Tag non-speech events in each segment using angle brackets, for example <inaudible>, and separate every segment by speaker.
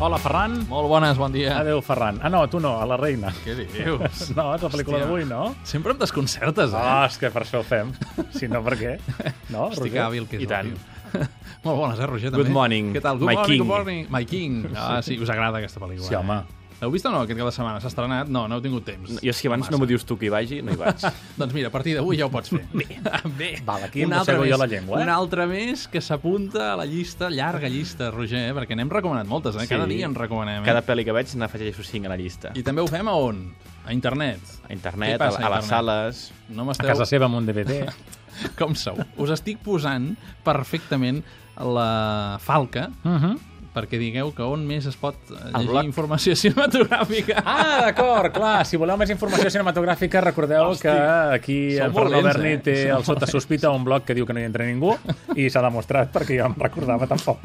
Speaker 1: Hola, Ferran.
Speaker 2: Molt bones, bon dia.
Speaker 1: Adéu, Ferran. Ah, no, tu no, a la reina. <laughs>
Speaker 2: Què dius?
Speaker 1: No, és la pel·lícula
Speaker 2: Hòstia.
Speaker 1: d'avui, no?
Speaker 2: Sempre em desconcertes, eh?
Speaker 1: Ah, és que per això ho fem. Si no, per què? No,
Speaker 2: Estic
Speaker 1: Roger?
Speaker 2: hàbil, que és
Speaker 1: I tant.
Speaker 2: l'hàbil. <laughs> Molt bones, eh, Roger, també?
Speaker 3: Good morning,
Speaker 2: Què tal? Good
Speaker 3: my
Speaker 2: morning,
Speaker 3: king.
Speaker 2: good morning. My king. Ah, sí, us agrada aquesta pel·lícula.
Speaker 1: Sí, home.
Speaker 2: Eh? L'heu vist o no aquest cap de setmana? S'ha estrenat? No, no heu tingut temps.
Speaker 3: Jo és que abans no m'ho dius tu que hi vagi, no hi vaig.
Speaker 2: <laughs> Doncs mira, a partir d'avui ja ho pots fer.
Speaker 1: <laughs>
Speaker 2: Bé. Bé.
Speaker 1: Val, aquí em mossego jo la llengua, eh?
Speaker 2: Un altre més que s'apunta a la llista, llarga llista, Roger, eh? perquè n'hem recomanat moltes, eh? Cada
Speaker 3: Sí.
Speaker 2: dia en recomanem. Eh?
Speaker 3: Cada pel·li que veig n'afegeixo 5 a la llista.
Speaker 2: I també ho fem a on? A internet.
Speaker 3: A internet,
Speaker 2: Què passa
Speaker 3: a, a les sales...
Speaker 2: No
Speaker 1: A
Speaker 2: m'esteu...
Speaker 1: casa seva amb un <laughs> DVD.
Speaker 2: Com sou? Us estic posant perfectament la falca
Speaker 1: Uh -huh.
Speaker 2: perquè digueu que on més es pot eh,
Speaker 3: Al
Speaker 2: llegir
Speaker 3: blog.
Speaker 2: informació <laughs> cinematogràfica.
Speaker 1: Ah, d'acord, clar. Si voleu més informació cinematogràfica, recordeu
Speaker 2: Hosti,
Speaker 1: Hosti, que aquí
Speaker 2: sou
Speaker 1: en
Speaker 2: molt
Speaker 1: Fernando
Speaker 2: lents,
Speaker 1: Berni
Speaker 2: eh?
Speaker 1: té
Speaker 2: Sou
Speaker 1: el Sota Sospita un blog que diu que no hi entra ningú i s'ha demostrat perquè jo em recordava tampoc.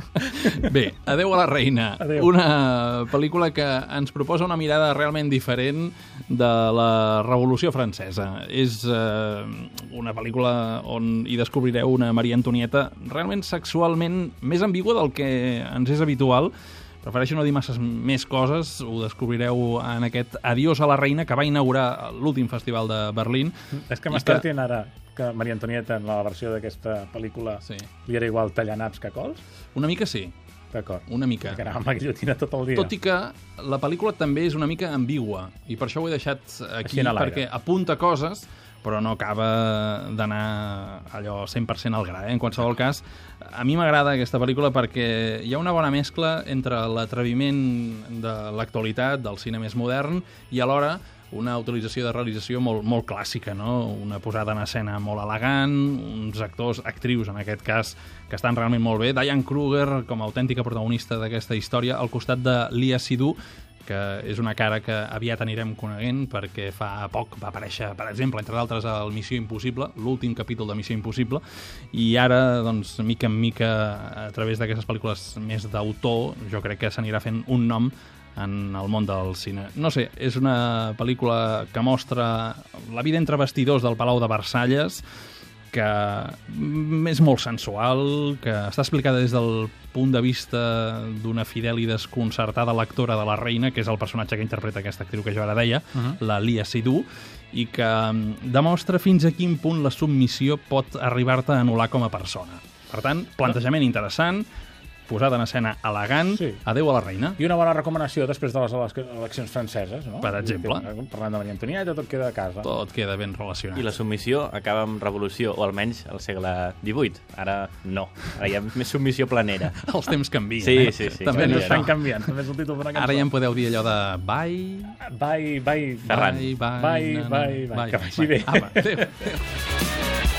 Speaker 2: Bé, Adeu a la reina.
Speaker 1: Adéu.
Speaker 2: Una pel·lícula que ens proposa una mirada realment diferent de la Revolució Francesa. És eh, una pel·lícula on hi descobrireu una Maria Antonieta realment sexualment més ambigua del que ens és habitual. Prefereixo no dir masses més coses, ho descobrireu en aquest Adiós a la reina que va inaugurar l'últim festival de Berlín.
Speaker 1: És que
Speaker 2: I
Speaker 1: m'està dient ara que Maria Antonieta en la versió d'aquesta pel·lícula
Speaker 2: Sí.
Speaker 1: li era igual tallar naps que cols?
Speaker 2: Una mica sí,
Speaker 1: D'acord.
Speaker 2: una mica.
Speaker 1: Que anava amb la guillotina tot el dia.
Speaker 2: Tot i que la pel·lícula també és una mica ambigua, i per això ho he deixat
Speaker 1: Així
Speaker 2: aquí,
Speaker 1: en l'aire.
Speaker 2: perquè apunta coses, però no acaba d'anar allò 100% al gra, eh? en qualsevol cas. A mi m'agrada aquesta pel·lícula perquè hi ha una bona mescla entre l'atreviment de l'actualitat, del cine més modern, i alhora una utilització de realització molt, molt clàssica, no? una posada en escena molt elegant, uns actors, actrius en aquest cas, que estan realment molt bé, Diane Kruger com a autèntica protagonista d'aquesta història, al costat de Lia Sidhu, que és una cara que aviat anirem coneguent perquè fa poc va aparèixer, per exemple, entre d'altres, el Missió Impossible, l'últim capítol de Missió Impossible, i ara, doncs, mica en mica, a través d'aquestes pel·lícules més d'autor, jo crec que s'anirà fent un nom en el món del cine. No sé, és una pel·lícula que mostra la vida entre vestidors del Palau de Versalles, que mm, és molt sensual, que està explicada des del punt de vista d'una fidel i desconcertada lectora de la reina, que és el personatge que interpreta aquesta actriu que jo ara deia, uh -huh. la Lia Sidhu, i que mm, demostra fins a quin punt la submissió pot arribar-te a anul·lar com a persona. Per tant, plantejament interessant, posada en escena elegant, sí.
Speaker 1: Sí.
Speaker 2: adeu a la reina.
Speaker 1: I una bona recomanació després de les ele- eleccions franceses, no? eh,
Speaker 2: Per exemple.
Speaker 1: Parlant de Maria Antonieta, tot queda a casa.
Speaker 2: Tot queda ben relacionat.
Speaker 3: I la submissió acaba amb revolució, o almenys al segle XVIII. Ara no. Ara hi ha més submissió planera.
Speaker 2: <laughs> Els temps canvien,
Speaker 3: Sí,
Speaker 2: eh?
Speaker 3: sí, sí,
Speaker 1: Bueno,
Speaker 2: També
Speaker 3: canvien.
Speaker 2: no
Speaker 1: estan
Speaker 2: això.
Speaker 1: canviant, també és el títol d'una cançó.
Speaker 2: Ara ja em podeu dir allò de bye,
Speaker 1: Bye, bye.
Speaker 3: Ferran.
Speaker 2: Bye,
Speaker 1: Bye,
Speaker 2: bye,
Speaker 1: Ah,
Speaker 2: na,
Speaker 1: <laughs>
Speaker 2: na,
Speaker 1: bye, bye. Que vagi bé.
Speaker 2: Apa, adéu.